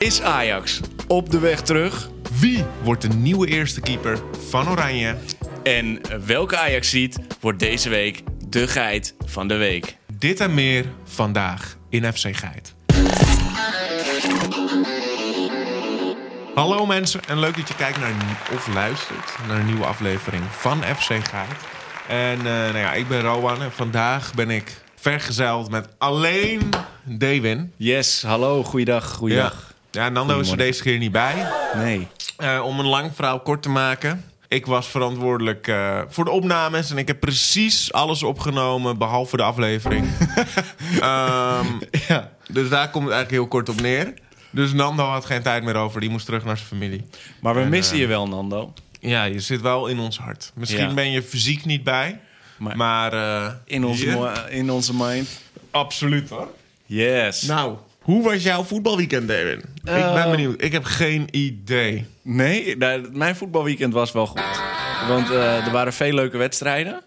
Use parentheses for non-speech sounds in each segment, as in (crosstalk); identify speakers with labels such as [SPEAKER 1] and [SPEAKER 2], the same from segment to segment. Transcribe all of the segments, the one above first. [SPEAKER 1] Is Ajax op de weg terug?
[SPEAKER 2] Wie wordt de nieuwe eerste keeper van Oranje?
[SPEAKER 1] En welke Ajax ziet wordt deze week de geit van de week?
[SPEAKER 2] Dit en meer vandaag in FC Geit. Hallo mensen en leuk dat je kijkt naar of luistert naar een nieuwe aflevering van FC Geit. En eh, nou ja, ik ben Rowan en vandaag ben ik vergezeild met alleen Dewin.
[SPEAKER 1] Yes, hallo, goeiedag,
[SPEAKER 2] Ja.
[SPEAKER 1] goeiedag.
[SPEAKER 2] ja, Nando is er
[SPEAKER 1] Goedemorgen.
[SPEAKER 2] deze keer niet bij.
[SPEAKER 1] Nee.
[SPEAKER 2] Eh, om een lang verhaal kort te maken. Ik was verantwoordelijk eh, voor de opnames en ik heb precies alles opgenomen behalve de (laughs) aflevering. Ehm,
[SPEAKER 1] Ja.
[SPEAKER 2] dus daar komt het eigenlijk heel kort op neer. Dus Nando had geen tijd meer over, die moest terug naar zijn familie.
[SPEAKER 1] Maar we missen je wel, Nando.
[SPEAKER 2] Ja, je zit wel in ons hart. Misschien
[SPEAKER 1] Ja.
[SPEAKER 2] ben je fysiek niet bij,
[SPEAKER 1] Maar-
[SPEAKER 2] maar, eh,
[SPEAKER 1] In onze,
[SPEAKER 2] hier-
[SPEAKER 1] mo- in onze mind.
[SPEAKER 2] absoluut hoor.
[SPEAKER 1] Yes.
[SPEAKER 2] Nou, hoe was jouw voetbalweekend, David? ik
[SPEAKER 1] Eh,
[SPEAKER 2] ben benieuwd. Ik heb geen idee.
[SPEAKER 1] Nee, nou, mijn voetbalweekend was wel goed. Want eh, er waren veel leuke wedstrijden.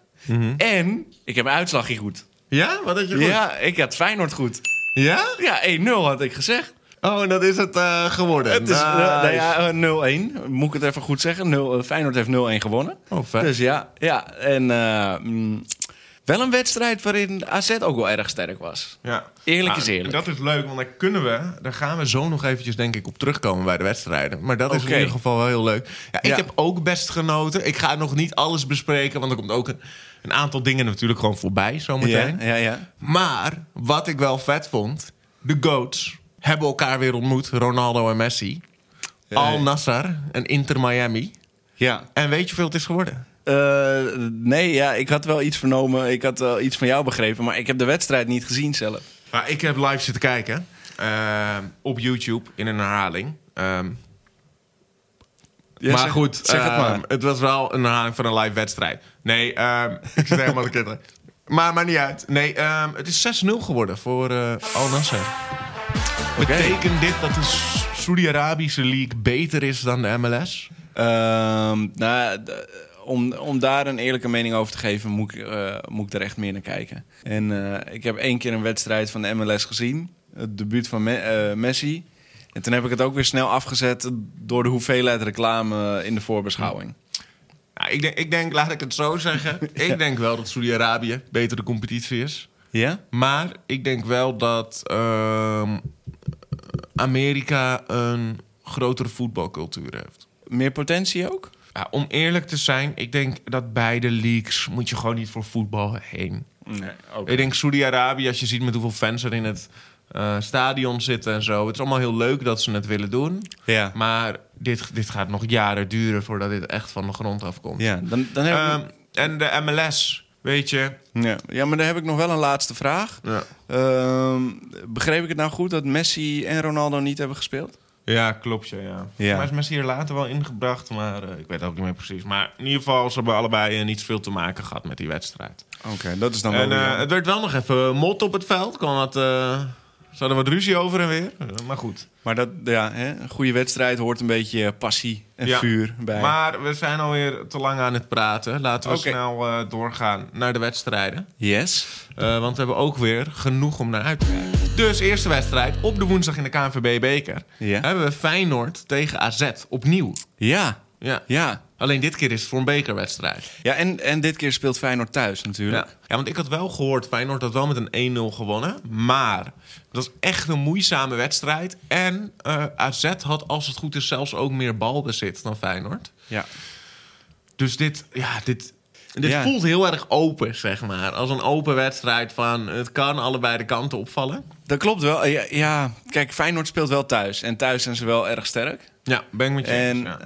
[SPEAKER 1] En ik heb mijn uitslagje Mhm. goed.
[SPEAKER 2] Ja, wat had je goed?
[SPEAKER 1] Ja, ik had Feyenoord goed.
[SPEAKER 2] ja?
[SPEAKER 1] Ja, 1-0 had ik gezegd.
[SPEAKER 2] Oh, en dat is het eh, geworden.
[SPEAKER 1] Het is, eh,
[SPEAKER 2] Nice.
[SPEAKER 1] nou ja, eh, 0-1. Moet ik het even goed zeggen? 0, eh, Feyenoord heeft 0-1 gewonnen.
[SPEAKER 2] Oh, vet.
[SPEAKER 1] Dus ja, ja. En eh, mm, wel een wedstrijd waarin AZ ook wel erg sterk was.
[SPEAKER 2] ja.
[SPEAKER 1] Eerlijk
[SPEAKER 2] Ah,
[SPEAKER 1] is eerlijk.
[SPEAKER 2] Dat is leuk, want daar kunnen we... Daar gaan we zo nog eventjes, denk ik, op terugkomen bij de wedstrijden. Maar dat is
[SPEAKER 1] Oké.
[SPEAKER 2] in ieder geval wel heel leuk. Ja, ik
[SPEAKER 1] Ja.
[SPEAKER 2] heb ook best genoten. Ik ga nog niet alles bespreken, want er komt ook een, een aantal dingen natuurlijk gewoon voorbij zometeen.
[SPEAKER 1] ja, ja.
[SPEAKER 2] Maar wat ik wel vet vond, de GOATs hebben elkaar weer ontmoet. Ronaldo en Messi. Al Nassr en Inter Miami.
[SPEAKER 1] ja.
[SPEAKER 2] En weet je hoeveel het is geworden?
[SPEAKER 1] Eh, nee, ja, ik had wel iets vernomen. Ik had wel iets van jou begrepen. Maar ik heb de wedstrijd niet gezien zelf.
[SPEAKER 2] Maar Nou, ik heb live zitten kijken eh, op YouTube in een herhaling. Ehm,
[SPEAKER 1] Ja,
[SPEAKER 2] maar
[SPEAKER 1] zeg-
[SPEAKER 2] goed,
[SPEAKER 1] Zeg het
[SPEAKER 2] ehm,
[SPEAKER 1] maar. eh,
[SPEAKER 2] het was wel een herhaling van een live wedstrijd. Nee, ehm, (laughs) ik zit helemaal te kinderen. Maar maakt niet uit. Nee, ehm, het is 6-0 geworden voor eh Al Nasser. Betekent dit dat de S- Saudi-Arabische League beter is dan de MLS?
[SPEAKER 1] Ehm, nou, d- om, om daar een eerlijke mening over te geven, moet ik, eh, moet ik er echt meer naar kijken. En eh, ik heb één keer een wedstrijd van de MLS gezien. Het debuut van Me- eh, Messi. En toen heb ik het ook weer snel afgezet door de hoeveelheid reclame in de voorbeschouwing.
[SPEAKER 2] Ja, ik, denk, ik denk, laat ik het
[SPEAKER 1] (laughs)
[SPEAKER 2] zo zeggen. Ik denk wel dat Saudi-Arabië betere competitie is.
[SPEAKER 1] Ja?
[SPEAKER 2] Maar ik denk wel dat ehm, Amerika een grotere voetbalcultuur heeft.
[SPEAKER 1] Meer potentie ook?
[SPEAKER 2] Ja, om eerlijk te zijn, ik denk dat beide leagues moet je gewoon niet voor voetbal heen.
[SPEAKER 1] Nee,
[SPEAKER 2] Ik denk Saudi-Arabië, als je ziet met hoeveel fans er in het eh, stadion zitten en zo. Het is allemaal heel leuk dat ze het willen doen.
[SPEAKER 1] Ja,
[SPEAKER 2] Maar dit, dit gaat nog jaren duren voordat dit echt van de grond afkomt.
[SPEAKER 1] ja dan, dan heb
[SPEAKER 2] Ehm, en de MLS, weet je.
[SPEAKER 1] ik, ja. ja, maar dan heb ik nog wel een laatste vraag.
[SPEAKER 2] Ja,
[SPEAKER 1] Ehm, begreep ik het nou goed dat Messi en Ronaldo niet hebben gespeeld?
[SPEAKER 2] klopt. Ja, ja.
[SPEAKER 1] Ja.
[SPEAKER 2] Maar is Messi hier later wel ingebracht, maar eh, ik weet het ook niet meer precies. Maar in ieder geval, ze hebben allebei eh, niet veel te maken gehad met die wedstrijd.
[SPEAKER 1] Oké, dat is dan
[SPEAKER 2] En
[SPEAKER 1] weer
[SPEAKER 2] eh,
[SPEAKER 1] jammer.
[SPEAKER 2] het werd wel nog even eh, mot op het veld. Kwam wat, eh, ze hadden wat ruzie over en weer. Eh, maar goed.
[SPEAKER 1] Maar dat, ja, hè, een goede wedstrijd hoort een beetje eh, passie en
[SPEAKER 2] Ja.
[SPEAKER 1] vuur bij.
[SPEAKER 2] Maar we zijn alweer te lang aan het praten. Laten we
[SPEAKER 1] Oké.
[SPEAKER 2] snel eh, doorgaan naar de wedstrijden.
[SPEAKER 1] Yes.
[SPEAKER 2] Eh, want we hebben ook weer genoeg om naar uit te kijken. Dus eerste wedstrijd op de woensdag in de KNVB-beker.
[SPEAKER 1] Ja.
[SPEAKER 2] Hebben we Feyenoord tegen AZ opnieuw.
[SPEAKER 1] Ja,
[SPEAKER 2] Ja.
[SPEAKER 1] ja.
[SPEAKER 2] Alleen dit keer is het voor een bekerwedstrijd.
[SPEAKER 1] Ja, en, en dit keer speelt Feyenoord thuis natuurlijk.
[SPEAKER 2] Ja. ja, want ik had wel gehoord, Feyenoord had wel met een 1-0 gewonnen. Maar dat was echt een moeizame wedstrijd. En eh, AZ had, als het goed is, zelfs ook meer balbezit dan Feyenoord.
[SPEAKER 1] Ja.
[SPEAKER 2] Dus dit, ja, dit, dit
[SPEAKER 1] Ja.
[SPEAKER 2] voelt heel erg open, zeg maar. Als een open wedstrijd van het kan allebei de kanten opvallen.
[SPEAKER 1] Dat klopt wel. Ja, ja, kijk, Feyenoord speelt wel thuis. En thuis zijn ze wel erg sterk.
[SPEAKER 2] Ja, ben ik met je eens,
[SPEAKER 1] En
[SPEAKER 2] ja.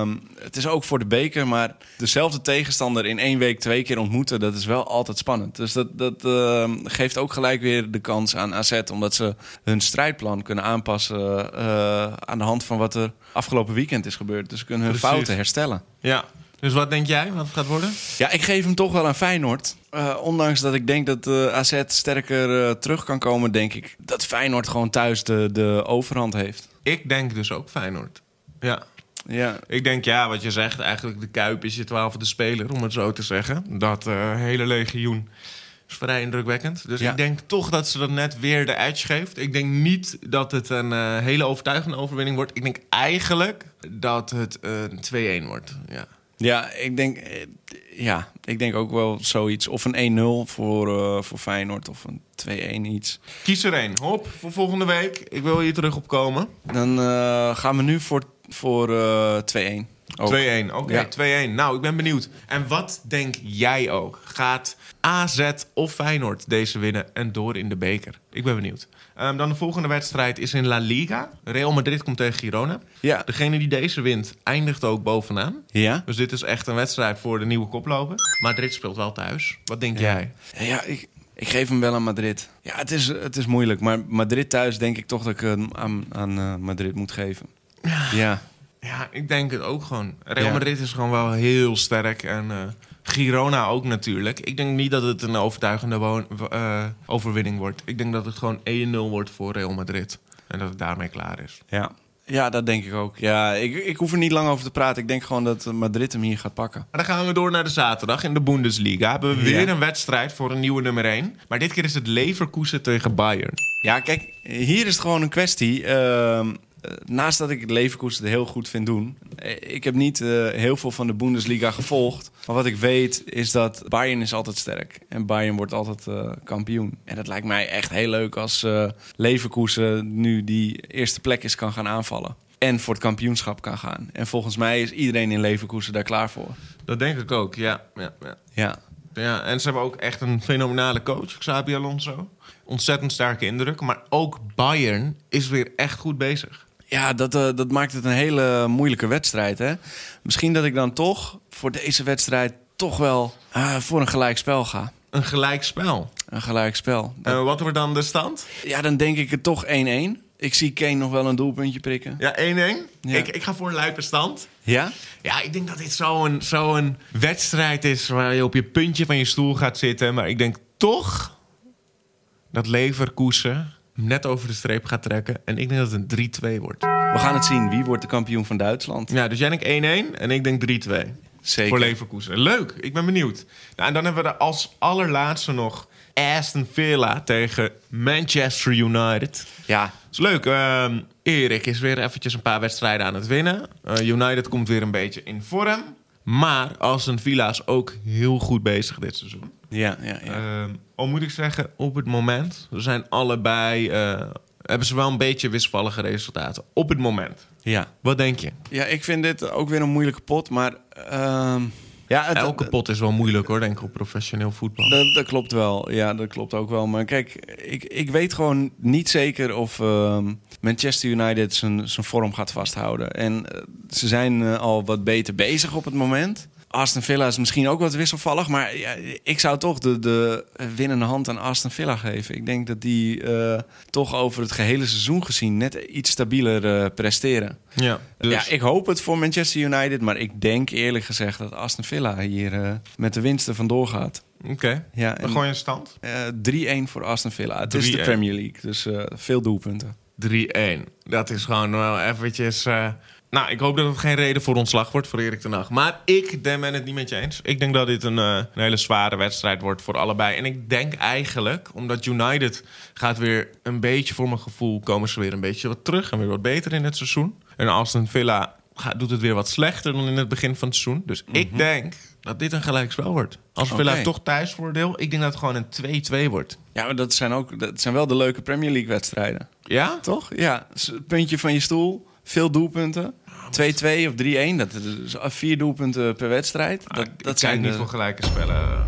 [SPEAKER 1] ehm, het is ook voor de beker, maar dezelfde tegenstander in één week twee keer ontmoeten, dat is wel altijd spannend. Dus dat, dat ehm, geeft ook gelijk weer de kans aan AZ, omdat ze hun strijdplan kunnen aanpassen eh, aan de hand van wat er afgelopen weekend is gebeurd. Dus ze kunnen hun
[SPEAKER 2] Precies.
[SPEAKER 1] fouten herstellen.
[SPEAKER 2] Ja. Dus wat denk jij wat het gaat worden?
[SPEAKER 1] Ja, ik geef hem toch wel aan Feyenoord. Eh, ondanks dat ik denk dat eh, AZ sterker eh, terug kan komen, denk ik dat Feyenoord gewoon thuis de, de overhand heeft.
[SPEAKER 2] Ik denk dus ook Feyenoord. Ja.
[SPEAKER 1] Ja,
[SPEAKER 2] Ik denk, ja, wat je zegt, eigenlijk de Kuip is je twaalfde speler, om het zo te zeggen. Dat eh, hele legioen is vrij indrukwekkend. Dus
[SPEAKER 1] Ja.
[SPEAKER 2] ik denk toch dat ze er net weer de edge geeft. Ik denk niet dat het een eh, hele overtuigende overwinning wordt. Ik denk eigenlijk dat het een 2-1 wordt. Ja.
[SPEAKER 1] Ja, ik denk, eh, ja, ik denk ook wel zoiets. Of een 1-0 voor, eh, voor Feyenoord of een 2-1 iets.
[SPEAKER 2] Kies er één. Hop, voor volgende week. Ik wil hier terug op komen. 2-1,
[SPEAKER 1] Dan eh, gaan we nu voor, voor eh, 2-1. Ook.
[SPEAKER 2] oké.
[SPEAKER 1] Ja.
[SPEAKER 2] 2-1. Nou, ik ben benieuwd. En wat denk jij ook? Gaat AZ of Feyenoord deze winnen en door in de beker? Ik ben benieuwd. Ehm, dan de volgende wedstrijd is in La Liga. Real Madrid komt tegen Girona.
[SPEAKER 1] Ja.
[SPEAKER 2] Degene die deze wint, eindigt ook bovenaan.
[SPEAKER 1] Ja?
[SPEAKER 2] Dus dit is echt een wedstrijd voor de nieuwe koploper. Madrid speelt wel thuis. Wat denk jij?
[SPEAKER 1] Ja, ik, ik geef hem wel aan Madrid. Ja, het is, het is moeilijk. Maar Madrid thuis denk ik toch dat ik hem aan, aan eh, Madrid moet geven. Ja.
[SPEAKER 2] Ja, ik denk het ook gewoon. Real
[SPEAKER 1] Ja.
[SPEAKER 2] Madrid is gewoon wel heel sterk. En eh, Girona ook natuurlijk. Ik denk niet dat het een overtuigende wo- eh, overwinning wordt. Ik denk dat het gewoon 1-0 wordt voor Real Madrid. En dat het daarmee klaar is.
[SPEAKER 1] Ja. Ja, dat denk ik ook. Ja, ik, ik hoef er niet lang over te praten. Ik denk gewoon dat eh, Madrid hem hier gaat pakken.
[SPEAKER 2] Maar dan gaan we door naar de zaterdag in de Bundesliga. Hebben we
[SPEAKER 1] Ja.
[SPEAKER 2] weer een wedstrijd voor een nieuwe nummer 1. Maar dit keer is het Leverkusen tegen Bayern.
[SPEAKER 1] Ja, kijk, hier is het gewoon een kwestie. ehm, eh, naast dat ik het Leverkusen heel goed vind doen... eh, ik heb niet eh, heel veel van de Bundesliga gevolgd. Maar wat ik weet is dat Bayern is altijd sterk. En Bayern wordt altijd eh, kampioen. En dat lijkt mij echt heel leuk als eh Leverkusen nu die eerste plek is kan gaan aanvallen. En voor het kampioenschap kan gaan. En volgens mij is iedereen in Leverkusen daar klaar voor.
[SPEAKER 2] Dat denk ik ook, ja. ja, ja.
[SPEAKER 1] Ja,
[SPEAKER 2] Ja, en ze hebben ook echt een fenomenale coach, Xabi Alonso. Ontzettend sterke indruk. Maar ook Bayern is weer echt goed bezig.
[SPEAKER 1] Ja, dat, eh, dat maakt het een hele moeilijke wedstrijd. Hè? Misschien dat ik dan toch voor deze wedstrijd toch wel ah, voor een gelijkspel ga.
[SPEAKER 2] Een gelijk spel.
[SPEAKER 1] Een gelijkspel.
[SPEAKER 2] En wat wordt dan de stand?
[SPEAKER 1] Ja, dan denk ik het toch 1-1. Ik zie Kane nog wel een doelpuntje prikken.
[SPEAKER 2] Ja, 1-1.
[SPEAKER 1] Ja.
[SPEAKER 2] Ik, ik ga voor een luipe stand.
[SPEAKER 1] Ja?
[SPEAKER 2] Ja, ik denk dat dit zo'n zo'n wedstrijd is waar je op je puntje van je stoel gaat zitten. Maar ik denk toch dat Leverkusen hem net over de streep gaat trekken. En ik denk dat het een 3-2 wordt.
[SPEAKER 1] We gaan het zien. Wie wordt de kampioen van Duitsland?
[SPEAKER 2] Ja, dus jij denkt 1-1 en ik denk 3-2.
[SPEAKER 1] Zeker.
[SPEAKER 2] Voor Leverkusen. Leuk, ik ben benieuwd. Nou, en dan hebben we er als allerlaatste nog Aston Villa tegen Manchester United.
[SPEAKER 1] Ja.
[SPEAKER 2] Dat is leuk. Ehm, Erik is weer eventjes een paar wedstrijden aan het winnen. Eh, United komt weer een beetje in vorm. Maar Aston Villa is ook heel goed bezig dit seizoen.
[SPEAKER 1] Ja, ja, ja.
[SPEAKER 2] Ehm, al moet ik zeggen, op het moment ze zijn allebei... eh, hebben ze wel een beetje wisselvallige resultaten. Op het moment.
[SPEAKER 1] ja.
[SPEAKER 2] Wat denk je?
[SPEAKER 1] Ja, ik vind dit ook weer een moeilijke pot, maar... ehm, ja, het-
[SPEAKER 2] Elke pot is wel moeilijk hoor, denk ik, op professioneel voetbal.
[SPEAKER 1] Dat, dat klopt wel. Ja, dat klopt ook wel. Maar kijk, ik, ik weet gewoon niet zeker of ehm, Manchester United zijn zijn vorm gaat vasthouden. En eh, ze zijn eh, al wat beter bezig op het moment. Aston Villa is misschien ook wat wisselvallig. Maar ja, ik zou toch de, de winnende hand aan Aston Villa geven. Ik denk dat die eh, toch over het gehele seizoen gezien net iets stabieler eh, presteren.
[SPEAKER 2] Ja, dus...
[SPEAKER 1] Ja, ik hoop het voor Manchester United. Maar ik denk eerlijk gezegd dat Aston Villa hier eh, met de winsten vandoor gaat.
[SPEAKER 2] Oké.
[SPEAKER 1] Ja,
[SPEAKER 2] Dan
[SPEAKER 1] en-
[SPEAKER 2] gooi je een stand.
[SPEAKER 1] eh, 3-1 voor Aston Villa. Het is de
[SPEAKER 2] 3-1.
[SPEAKER 1] Premier League, dus eh, veel doelpunten.
[SPEAKER 2] 3-1. Dat is gewoon wel eventjes... eh, Nou, ik hoop dat het geen reden voor ontslag wordt voor Erik ten Hag. Maar ik ben ben het niet met je eens. Ik denk dat dit een, eh, een hele zware wedstrijd wordt voor allebei. En ik denk eigenlijk, omdat United gaat weer een beetje voor mijn gevoel... komen ze weer een beetje wat terug en weer wat beter in het seizoen. En Aston Villa gaat, doet het weer wat slechter dan in het begin van het seizoen. Dus ik denk dat dit een gelijkspel wordt. Als Villa
[SPEAKER 1] Mhm. Oké.
[SPEAKER 2] heeft toch thuisvoordeel, ik denk dat het gewoon een 2-2 wordt.
[SPEAKER 1] Ja, maar dat zijn, ook, dat zijn wel de leuke Premier League wedstrijden.
[SPEAKER 2] Ja?
[SPEAKER 1] Toch? Ja, s- puntje van je stoel, veel doelpunten. 2-2 of 3-1, dat is eh, vier doelpunten per wedstrijd. Dat, eh,
[SPEAKER 2] ik
[SPEAKER 1] dat
[SPEAKER 2] kijk niet
[SPEAKER 1] de-
[SPEAKER 2] voor gelijke spellen.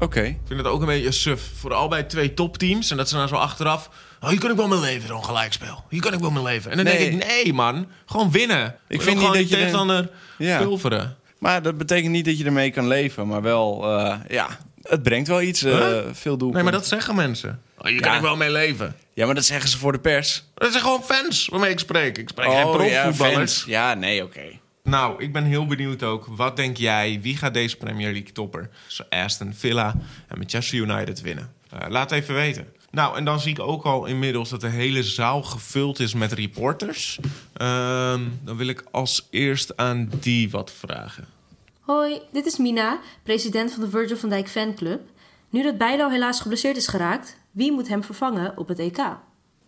[SPEAKER 1] Oké.
[SPEAKER 2] Ik vind het ook een beetje suf. Vooral bij twee topteams. En dat ze dan zo achteraf... Oh, hier kan ik wel mee leven, zo'n gelijkspel. Hier kan ik wel mee leven. En dan
[SPEAKER 1] Nee.
[SPEAKER 2] denk ik, nee man, gewoon winnen.
[SPEAKER 1] vind
[SPEAKER 2] Gewoon
[SPEAKER 1] niet dat
[SPEAKER 2] die
[SPEAKER 1] je denkt-
[SPEAKER 2] tegenstander
[SPEAKER 1] Ja.
[SPEAKER 2] pulveren.
[SPEAKER 1] Maar dat betekent niet dat je ermee kan leven, maar wel, eh, ja, het brengt wel iets, eh,
[SPEAKER 2] Huh?
[SPEAKER 1] veel doelpunten.
[SPEAKER 2] Nee, maar dat zeggen mensen. Oh, hier kan
[SPEAKER 1] Ja.
[SPEAKER 2] ik wel mee leven.
[SPEAKER 1] Ja, maar dat zeggen ze voor de pers.
[SPEAKER 2] Dat zijn gewoon fans waarmee ik spreek. Ik spreek geen profvoetballers.
[SPEAKER 1] fans. Oh, Ja, nee, oké.
[SPEAKER 2] Nou, ik ben heel benieuwd ook. Wat denk jij? Wie gaat deze Premier League topper? Zo Aston Villa en Manchester United winnen? Eh, laat even weten. Nou, en dan zie ik ook al inmiddels dat de hele zaal gevuld is met reporters. Ehm, dan wil ik als eerst aan die wat vragen.
[SPEAKER 3] Hoi, dit is Mina, president van de Virgil van Dijk Fanclub. Nu dat Bijlo helaas geblesseerd is geraakt, wie moet hem vervangen op het EK?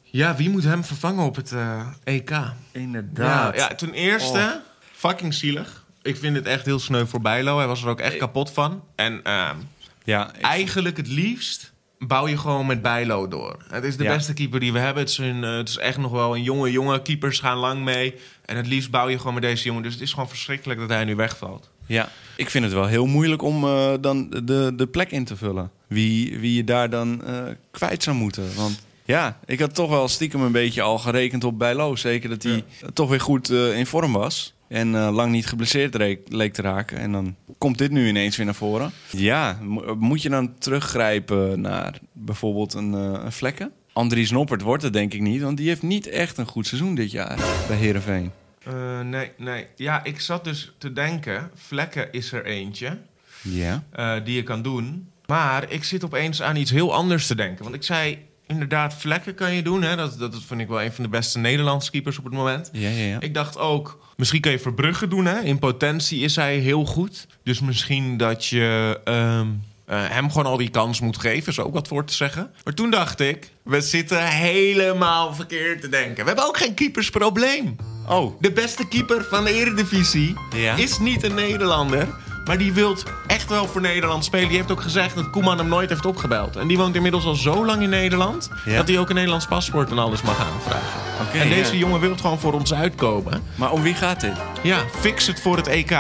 [SPEAKER 2] Ja, wie moet hem vervangen op het eh, EK? Ja,
[SPEAKER 1] Inderdaad.
[SPEAKER 2] ja, ten eerste, fucking zielig. Ik vind het echt heel sneu voor Bijlo. Hij was er ook echt kapot van. En ehm,
[SPEAKER 1] Ja, ik-
[SPEAKER 2] eigenlijk het liefst bouw je gewoon met Bijlo door. Het is de
[SPEAKER 1] Ja.
[SPEAKER 2] beste keeper die we hebben. Het is, een, eh, het is echt nog wel een jonge jongen. Keepers gaan lang mee. En het liefst bouw je gewoon met deze jongen. Dus het is gewoon verschrikkelijk dat hij nu wegvalt.
[SPEAKER 1] Ja, ik vind het wel heel moeilijk om eh, dan de, de plek in te vullen. Wie, wie je daar dan eh, kwijt zou moeten. Want ja, ik had toch wel stiekem een beetje al gerekend op Bijlo. Zeker dat hij toch weer goed eh, in vorm was. En eh, lang niet geblesseerd reek- leek te raken. En dan komt dit nu ineens weer naar voren. Ja, mo- moet je dan teruggrijpen naar bijvoorbeeld een, eh, een vlekken? Andries Noppert wordt het denk ik niet. Want die heeft niet echt een goed seizoen dit jaar bij Herenveen.
[SPEAKER 2] Eh, nee, nee. Ja, ik zat dus te denken. Vlekken is er eentje.
[SPEAKER 1] Ja.
[SPEAKER 2] eh, die je kan doen. Maar ik zit opeens aan iets heel anders te denken. Want ik zei, inderdaad, vlekken kan je doen. Hè? Dat, dat, dat vind ik wel een van de beste Nederlandse keepers op het moment.
[SPEAKER 1] Ja, ja, ja.
[SPEAKER 2] Ik dacht ook, misschien kan je Verbrugge doen. Hè? In potentie is hij heel goed. Dus misschien dat je ehm, eh, hem gewoon al die kans moet geven. Is ook wat voor te zeggen. Maar toen dacht ik, we zitten helemaal verkeerd te denken. We hebben ook geen keepersprobleem.
[SPEAKER 1] Oh,
[SPEAKER 2] De beste keeper van de Eredivisie
[SPEAKER 1] Ja.
[SPEAKER 2] is niet een Nederlander. Maar die wil echt wel voor Nederland spelen. Die heeft ook gezegd dat Koeman hem nooit heeft opgebeld. En die woont inmiddels al zo lang in Nederland.
[SPEAKER 1] Ja.
[SPEAKER 2] dat hij ook een Nederlands paspoort en alles mag aanvragen.
[SPEAKER 1] Oké,
[SPEAKER 2] en
[SPEAKER 1] ja.
[SPEAKER 2] deze jongen wil gewoon voor ons uitkomen.
[SPEAKER 1] maar om wie gaat dit?
[SPEAKER 2] Ja, fix het voor het EK.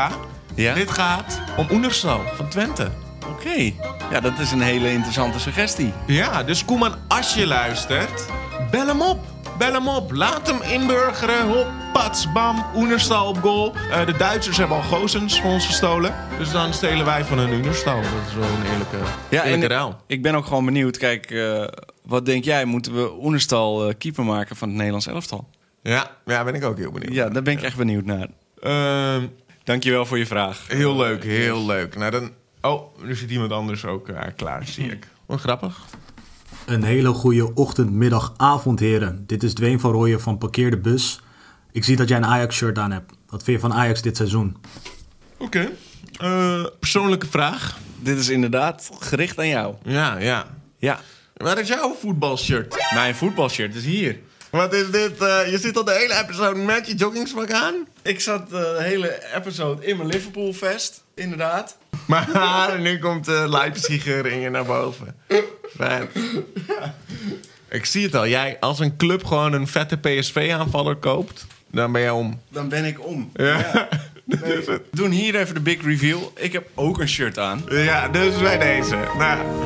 [SPEAKER 1] Ja?
[SPEAKER 2] Dit gaat om Oenerstal van Twente.
[SPEAKER 1] Oké. Ja, dat is een hele interessante suggestie.
[SPEAKER 2] Ja, dus Koeman, als je luistert, bel hem op. Bel hem op. Laat hem inburgeren. Hop, pats, bam. Oenerstal op goal. Eh, de Duitsers hebben al Gozens van ons gestolen. Dus dan stelen wij van hun Oenerstal. Dat is wel een eerlijke, ja,
[SPEAKER 1] en
[SPEAKER 2] eerlijke ruil.
[SPEAKER 1] ik ben ook gewoon benieuwd. Kijk, eh, wat denk jij? Moeten we Oenestal eh, keeper maken van het Nederlands elftal?
[SPEAKER 2] Ja, ja, ben ik ook heel benieuwd.
[SPEAKER 1] Ja, daar ben ik echt benieuwd naar.
[SPEAKER 2] Ehm,
[SPEAKER 1] Dankjewel voor je vraag. Eh,
[SPEAKER 2] heel leuk, heel leuk. Nou, dan... Oh, er zit iemand anders ook eh, klaar, zie ik.
[SPEAKER 1] Hm.
[SPEAKER 2] Wat grappig.
[SPEAKER 4] Een hele goede ochtend, middag, avond, heren. Dit is Dwayne van Rooyen van Parkeer de Bus. Ik zie dat jij een Ajax-shirt aan hebt. Wat vind je van Ajax dit seizoen?
[SPEAKER 2] Oké. Eh, persoonlijke vraag.
[SPEAKER 1] Dit is inderdaad gericht aan jou.
[SPEAKER 2] Ja, ja.
[SPEAKER 1] Ja.
[SPEAKER 2] Waar is jouw voetbalshirt?
[SPEAKER 1] Mijn voetbalshirt is hier.
[SPEAKER 2] Wat is dit? Eh, je zit al de hele episode met je joggingspak aan.
[SPEAKER 1] Ik zat eh, de hele episode in mijn Liverpool vest. Inderdaad.
[SPEAKER 2] Maar (laughs) nu komt de Leipziger in je naar boven. Vet. Ik zie het al. Jij, als een club gewoon een vette PSV-aanvaller koopt, dan ben je om.
[SPEAKER 1] Dan ben ik om.
[SPEAKER 2] Ja. (laughs) dat is het.
[SPEAKER 1] We doen hier even de big reveal. Ik heb ook een shirt aan.
[SPEAKER 2] Ja, dus bij deze. Nou, (laughs)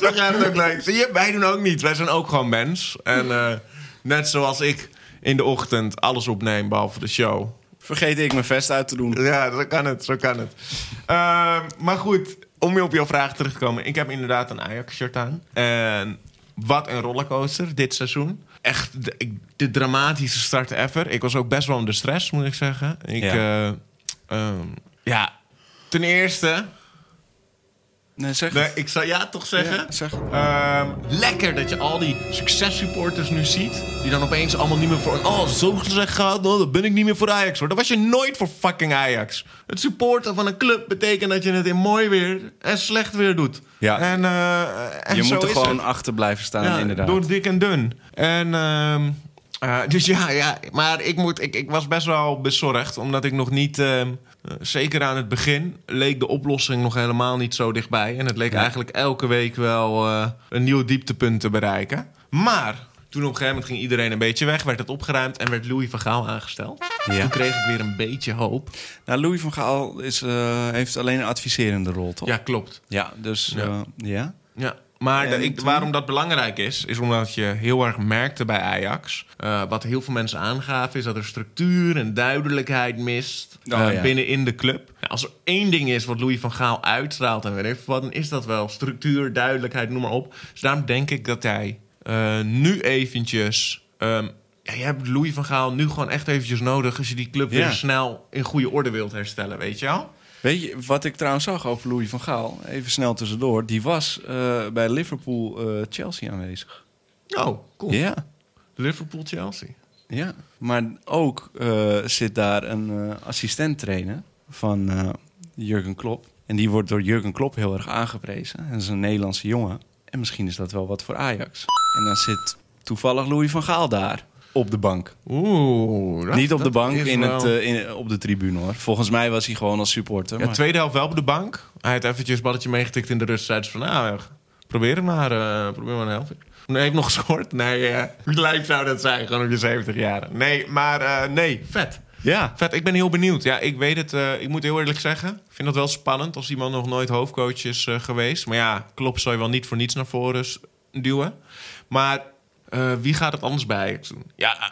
[SPEAKER 2] zo gaat het ook leuk. Zie je, wij doen ook niet. Wij zijn ook gewoon mens. En eh, net zoals ik in de ochtend alles opneem, behalve de show.
[SPEAKER 1] Vergeet ik mijn vest uit te doen.
[SPEAKER 2] Ja, zo kan het, zo kan het. Ehm, maar goed, om weer op jouw vraag terug te komen. Ik heb inderdaad een Ajax-shirt aan. En wat een rollercoaster dit seizoen. Echt de, ik- de dramatische start ever. Ik was ook best wel onder stress, moet ik zeggen. Ik,
[SPEAKER 1] Ja.
[SPEAKER 2] ja. ja, ten eerste...
[SPEAKER 1] Nee, zeg
[SPEAKER 2] Nee,
[SPEAKER 1] het.
[SPEAKER 2] ik zou ja toch zeggen.
[SPEAKER 1] Ja, zeg.
[SPEAKER 2] Ehm, lekker dat je al die successupporters nu ziet. Die dan opeens allemaal niet meer voor. Oh, zo gezegd gehad. Oh, dan ben ik niet meer voor Ajax hoor. Dat was je nooit voor fucking Ajax. Het supporten van een club betekent dat je het in mooi weer en slecht weer doet.
[SPEAKER 1] Ja.
[SPEAKER 2] En, eh, en
[SPEAKER 1] je
[SPEAKER 2] zo
[SPEAKER 1] moet er
[SPEAKER 2] is
[SPEAKER 1] gewoon
[SPEAKER 2] het.
[SPEAKER 1] achter blijven staan,
[SPEAKER 2] Ja,
[SPEAKER 1] inderdaad.
[SPEAKER 2] Door dik en dun. En, ehm, eh, (laughs) dus ja, ja, maar ik, moet, ik, ik was best wel bezorgd. Omdat ik nog niet. ehm, eh, zeker aan het begin leek de oplossing nog helemaal niet zo dichtbij. En het leek eigenlijk elke week wel eh, een nieuw dieptepunt te bereiken. Maar. Toen op een gegeven moment ging iedereen een beetje weg, werd het opgeruimd en werd Louis van Gaal aangesteld.
[SPEAKER 1] Ja.
[SPEAKER 2] Toen kreeg ik weer een beetje hoop.
[SPEAKER 1] Nou, Louis van Gaal is, eh, heeft alleen een adviserende rol, toch?
[SPEAKER 2] Ja, klopt.
[SPEAKER 1] Ja, dus
[SPEAKER 2] Ja.
[SPEAKER 1] eh, ja.
[SPEAKER 2] Ja. Maar
[SPEAKER 1] En
[SPEAKER 2] dat ik,
[SPEAKER 1] toen-
[SPEAKER 2] waarom dat belangrijk is, is omdat je heel erg merkte bij Ajax. eh, wat heel veel mensen aangaven, is dat er structuur en duidelijkheid mist
[SPEAKER 1] Oh,
[SPEAKER 2] eh,
[SPEAKER 1] ja.
[SPEAKER 2] binnenin de club. Nou, als er één ding is wat Louis van Gaal uitstraalt en weet ik veel wat, dan is dat wel structuur, duidelijkheid, noem maar op. Dus daarom denk ik dat hij eh, nu eventjes. ehm, ja, je hebt Louis van Gaal nu gewoon echt eventjes nodig als je die club
[SPEAKER 1] Ja.
[SPEAKER 2] weer snel in goede orde wilt herstellen, weet je wel?
[SPEAKER 1] Weet je, wat ik trouwens zag over Louis van Gaal, even snel tussendoor, die was eh, bij Liverpool-Chelsea aanwezig.
[SPEAKER 2] Oh, cool.
[SPEAKER 1] Ja,
[SPEAKER 2] Liverpool-Chelsea.
[SPEAKER 1] ja. Maar ook eh, zit daar een eh assistent trainer van eh, Jurgen Klopp. En die wordt door Jurgen Klopp heel erg aangeprezen. Dat is een Nederlandse jongen. En misschien is dat wel wat voor Ajax. En dan zit toevallig Louis van Gaal daar op de bank.
[SPEAKER 2] Oeh. dat-
[SPEAKER 1] Niet op de
[SPEAKER 2] dat
[SPEAKER 1] bank,
[SPEAKER 2] is
[SPEAKER 1] in
[SPEAKER 2] wel-
[SPEAKER 1] het, eh, in, op de tribune hoor. Volgens mij was hij gewoon als supporter.
[SPEAKER 2] Ja,
[SPEAKER 1] maar-
[SPEAKER 2] tweede helft wel op de bank. Hij had eventjes balletje meegetikt in de rust. Zeiden ze van, nou, probeer het maar. eh, probeer maar een helft. Nee, heeft nog gescoord? Nee, eh (laughs) wie lijkt zou dat zijn? Gewoon op je 70 jaar. Nee, maar eh, nee, vet.
[SPEAKER 1] ja.
[SPEAKER 2] Vet, ik ben heel benieuwd. Ja, ik weet het. eh, ik moet heel eerlijk zeggen. Ik vind dat wel spannend als iemand nog nooit hoofdcoach is eh, geweest. Maar ja, klopt, zou je wel niet voor niets naar voren s- duwen. Maar eh, wie gaat het anders bij Ajax doen? Ja, eh,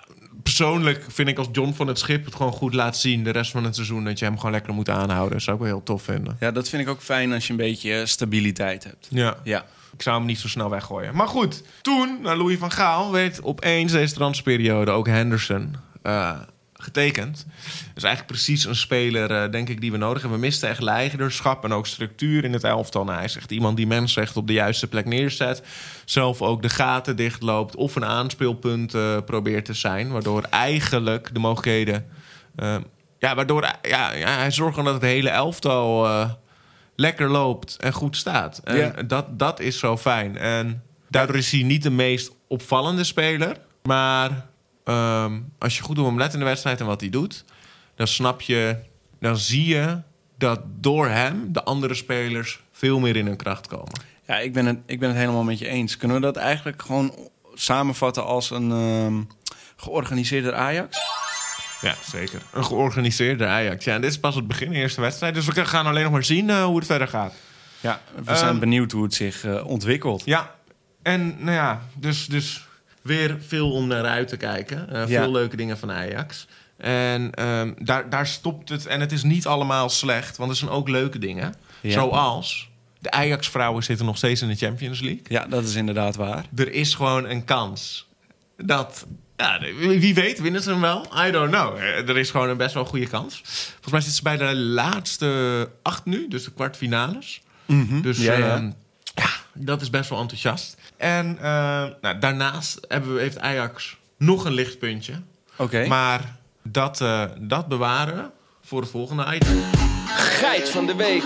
[SPEAKER 2] persoonlijk vind ik als John van het Schip het gewoon goed laat zien... de rest van het seizoen dat je hem gewoon lekker moet aanhouden. zou ik wel heel tof vinden.
[SPEAKER 1] ja, dat vind ik ook fijn als je een beetje eh, stabiliteit hebt.
[SPEAKER 2] Ja.
[SPEAKER 1] Ja.
[SPEAKER 2] Ik zou hem niet zo snel weggooien. Maar goed, toen, naar Louis van Gaal, werd opeens deze transperiode ook Henderson eh, getekend. Dus eigenlijk precies een speler, eh, denk ik, die we nodig hebben. We misten echt leiderschap en ook structuur in het elftal. Nou, hij is echt iemand die mensen echt op de juiste plek neerzet. Zelf ook de gaten dichtloopt of een aanspeelpunt eh, probeert te zijn. Waardoor eigenlijk de mogelijkheden... eh, ja, waardoor ja, ja, hij zorgt gewoon dat het hele elftal... eh, lekker loopt en goed staat. En
[SPEAKER 1] Ja.
[SPEAKER 2] dat, dat is zo fijn. En daardoor is hij niet de meest opvallende speler. Maar ehm, als je goed op hem let in de wedstrijd en wat hij doet, dan snap je, dan zie je dat door hem de andere spelers veel meer in hun kracht komen.
[SPEAKER 1] Ja, ik ben, het, ik ben het helemaal met je eens. Kunnen we dat eigenlijk gewoon samenvatten als een ehm georganiseerde Ajax?
[SPEAKER 2] Ja, zeker. Een georganiseerde Ajax. Ja, en dit is pas het begin, de eerste wedstrijd. Dus we gaan alleen nog maar zien eh, hoe het verder gaat.
[SPEAKER 1] Ja, we
[SPEAKER 2] Ehm,
[SPEAKER 1] zijn benieuwd hoe het zich eh, ontwikkelt.
[SPEAKER 2] Ja, en nou ja, dus, dus weer veel om naar uit te kijken. Eh,
[SPEAKER 1] Ja.
[SPEAKER 2] Veel leuke dingen van Ajax. En ehm, daar, daar stopt het. En het is niet allemaal slecht, want er zijn ook leuke dingen.
[SPEAKER 1] Ja.
[SPEAKER 2] Zoals de Ajax-vrouwen zitten nog steeds in de Champions League.
[SPEAKER 1] Ja, dat is inderdaad waar.
[SPEAKER 2] Er is gewoon een kans dat. Ja, wie weet winnen ze hem wel? I don't know. Eh, Er is gewoon een best wel goede kans. Volgens mij zitten ze bij de laatste acht nu, dus de kwartfinales. Dus
[SPEAKER 1] Mhm. Ja,
[SPEAKER 2] ja,
[SPEAKER 1] ja.
[SPEAKER 2] ja, dat is best wel enthousiast. En eh, nou, daarnaast hebben we, heeft Ajax nog een lichtpuntje.
[SPEAKER 1] Oké.
[SPEAKER 2] Maar dat, eh, dat bewaren we voor het volgende item.
[SPEAKER 5] Geit van de week.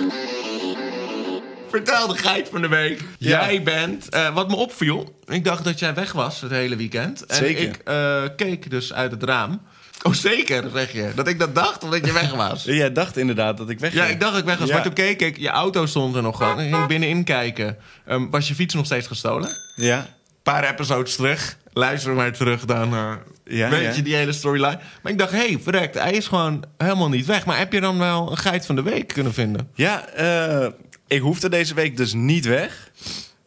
[SPEAKER 2] Vertel de geit van de week. Jij bent, eh, wat me opviel, ik dacht dat jij weg was het hele weekend. En
[SPEAKER 1] Zeker.
[SPEAKER 2] ik eh, keek dus uit het raam. Oh, zeker, zeg je. Dat ik dat dacht, omdat je weg
[SPEAKER 1] (laughs)
[SPEAKER 2] was.
[SPEAKER 1] Jij dacht inderdaad dat ik weg
[SPEAKER 2] Ja, ik dacht dat ik weg was.
[SPEAKER 1] Ja.
[SPEAKER 2] Maar toen keek ik, je auto stond er nog gewoon. Ik ging binnenin kijken. Ehm, was je fiets nog steeds gestolen?
[SPEAKER 1] Ja.
[SPEAKER 2] paar episodes terug. Luister maar terug, dan eh,
[SPEAKER 1] Ja,
[SPEAKER 2] weet
[SPEAKER 1] ja.
[SPEAKER 2] je die hele storyline. Maar ik dacht, hé, hey, verrekt, hij is gewoon helemaal niet weg. Maar heb je dan wel een geit van de week kunnen vinden?
[SPEAKER 1] Ja, eh, ik hoefde deze week dus niet weg.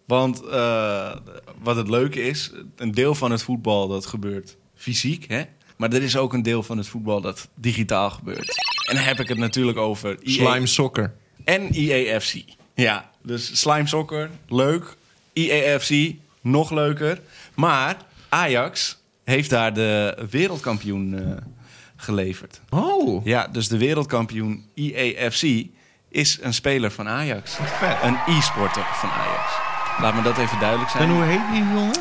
[SPEAKER 1] Want eh, wat het leuke is, een deel van het voetbal dat gebeurt fysiek. Hè? Maar er is ook een deel van het voetbal dat digitaal gebeurt. En dan heb ik het natuurlijk over EA
[SPEAKER 2] Slime Soccer.
[SPEAKER 1] en EAFC. Ja, dus Slime Soccer, leuk. EAFC, nog leuker. Maar Ajax heeft daar de wereldkampioen eh, geleverd.
[SPEAKER 2] Oh,
[SPEAKER 1] Ja, dus de wereldkampioen IEFC is een speler van Ajax.
[SPEAKER 2] vet.
[SPEAKER 1] Een e-sporter van Ajax. Laat me dat even duidelijk zijn.
[SPEAKER 2] En hoe heet die jongen?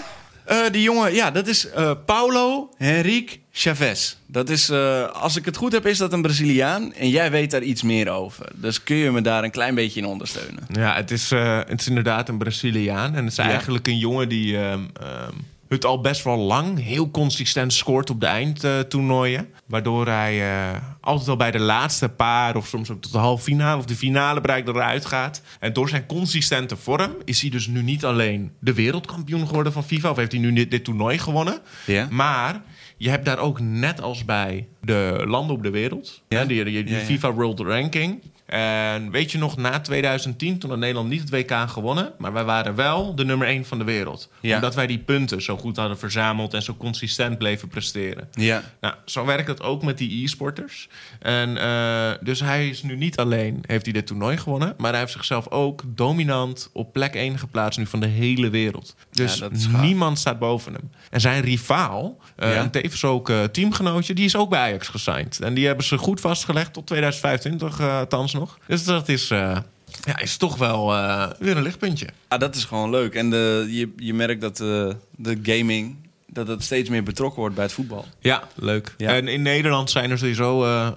[SPEAKER 1] Eh, die jongen, ja, dat is eh, Paulo Henrique Chavez. Dat is, eh, als ik het goed heb, is dat een Braziliaan. En jij weet daar iets meer over. Dus kun je me daar een klein beetje in ondersteunen?
[SPEAKER 2] Ja, het is, eh, het is inderdaad een Braziliaan. En het is
[SPEAKER 1] Ja.
[SPEAKER 2] eigenlijk een jongen die ehm, ehm, het al best wel lang heel consistent scoort op de eindtoernooien. waardoor hij eh, altijd al bij de laatste paar of soms ook tot de halve finale of de finale bereikt eruit gaat. En door zijn consistente vorm is hij dus nu niet alleen de wereldkampioen geworden van FIFA. Of heeft hij nu dit, dit toernooi gewonnen.
[SPEAKER 1] Ja.
[SPEAKER 2] Maar je hebt daar ook net als bij de landen op de wereld.
[SPEAKER 1] Ja.
[SPEAKER 2] hè, Die, die, die
[SPEAKER 1] Ja, ja.
[SPEAKER 2] FIFA World Ranking. En weet je nog, na 2010, toen had Nederland niet het WK gewonnen... maar wij waren wel de nummer 1 van de wereld.
[SPEAKER 1] Ja.
[SPEAKER 2] Omdat wij die punten zo goed hadden verzameld... en zo consistent bleven presteren.
[SPEAKER 1] Ja.
[SPEAKER 2] Nou, zo werkt het ook met die e-sporters. En eh, dus hij is nu niet alleen, heeft hij dit toernooi gewonnen... maar hij heeft zichzelf ook dominant op plek 1 geplaatst... nu van de hele wereld. Dus
[SPEAKER 1] dat is gaaf.
[SPEAKER 2] niemand staat boven hem. En zijn rivaal, eh,
[SPEAKER 1] Ja.
[SPEAKER 2] en tevens ook eh, teamgenootje... die is ook bij Ajax gesigned. En die hebben ze goed vastgelegd tot 2025, eh althans nog. Dus dat is, eh, ja, is toch wel eh, weer een lichtpuntje.
[SPEAKER 1] Ah, dat is gewoon leuk. En de, je, je merkt dat eh, de gaming dat het steeds meer betrokken wordt bij het voetbal.
[SPEAKER 2] Ja, leuk.
[SPEAKER 1] Ja.
[SPEAKER 2] En in Nederland zijn er sowieso eh, eh,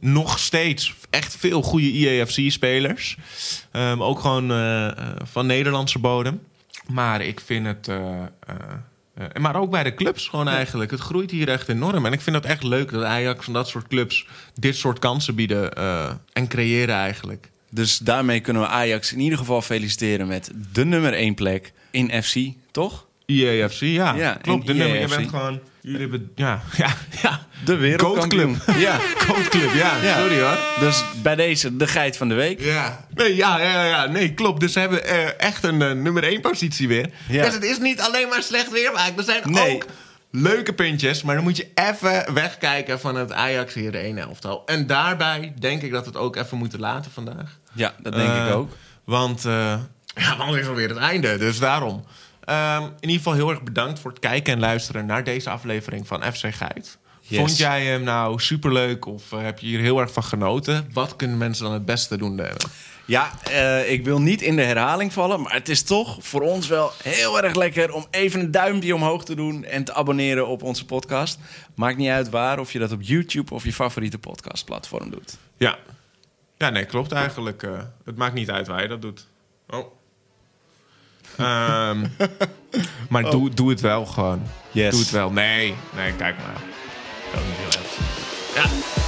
[SPEAKER 2] nog steeds echt veel goede IAFC-spelers. Ehm, ook gewoon eh, eh, van Nederlandse bodem. Maar ik vind het. eh, eh, eh, maar ook bij de clubs gewoon eigenlijk. Het groeit hier echt enorm. En ik vind het echt leuk dat Ajax en dat soort clubs dit soort kansen bieden eh, en creëren eigenlijk.
[SPEAKER 1] Dus daarmee kunnen we Ajax in ieder geval feliciteren met de nummer 1 plek in FC, toch?
[SPEAKER 2] IAFC, E ja.
[SPEAKER 1] Ja,
[SPEAKER 2] klopt. De
[SPEAKER 1] en
[SPEAKER 2] nummer, je
[SPEAKER 1] IAFC.
[SPEAKER 2] bent gewoon. Jullie hebben. Ja, (laughs) ja, ja.
[SPEAKER 1] De
[SPEAKER 2] wereldkampioen.
[SPEAKER 1] (laughs) Ja.
[SPEAKER 2] Koopclub, ja.
[SPEAKER 1] Ja.
[SPEAKER 2] Sorry hoor.
[SPEAKER 1] Dus bij deze de geit van de week.
[SPEAKER 2] Ja. Nee, ja, ja, ja, nee, klopt. Dus ze hebben eh, echt een eh, nummer 1 positie weer.
[SPEAKER 1] Ja.
[SPEAKER 2] Dus het is niet alleen maar slecht weer, maar er zijn
[SPEAKER 1] Nee.
[SPEAKER 2] ook leuke puntjes. Maar dan moet je even wegkijken van het Ajax hier 1 elftal. En daarbij denk ik dat we het ook even moeten laten vandaag.
[SPEAKER 1] Ja, dat denk ik
[SPEAKER 2] Eh,
[SPEAKER 1] ook.
[SPEAKER 2] Want, eh ja, want is alweer het einde, dus daarom. Ehm, in ieder geval heel erg bedankt voor het kijken en luisteren naar deze aflevering van FC Geit.
[SPEAKER 1] Yes.
[SPEAKER 2] Vond jij hem nou superleuk of eh, heb je hier heel erg van genoten? Wat kunnen mensen dan het beste doen? eh?
[SPEAKER 1] Ja, eh, ik wil niet in de herhaling vallen, maar het is toch voor ons wel heel erg lekker om even een duimpje omhoog te doen en te abonneren op onze podcast. Maakt niet uit waar, of je dat op YouTube of je favoriete podcastplatform doet.
[SPEAKER 2] Ja. Ja, nee, klopt eigenlijk. eh, het maakt niet uit waar je dat doet. Oh. Ehm, (laughs) maar doe, doe het wel gewoon.
[SPEAKER 1] Yes.
[SPEAKER 2] Doe het wel. Nee, nee, kijk maar. Dat is niet heel erg. Ja.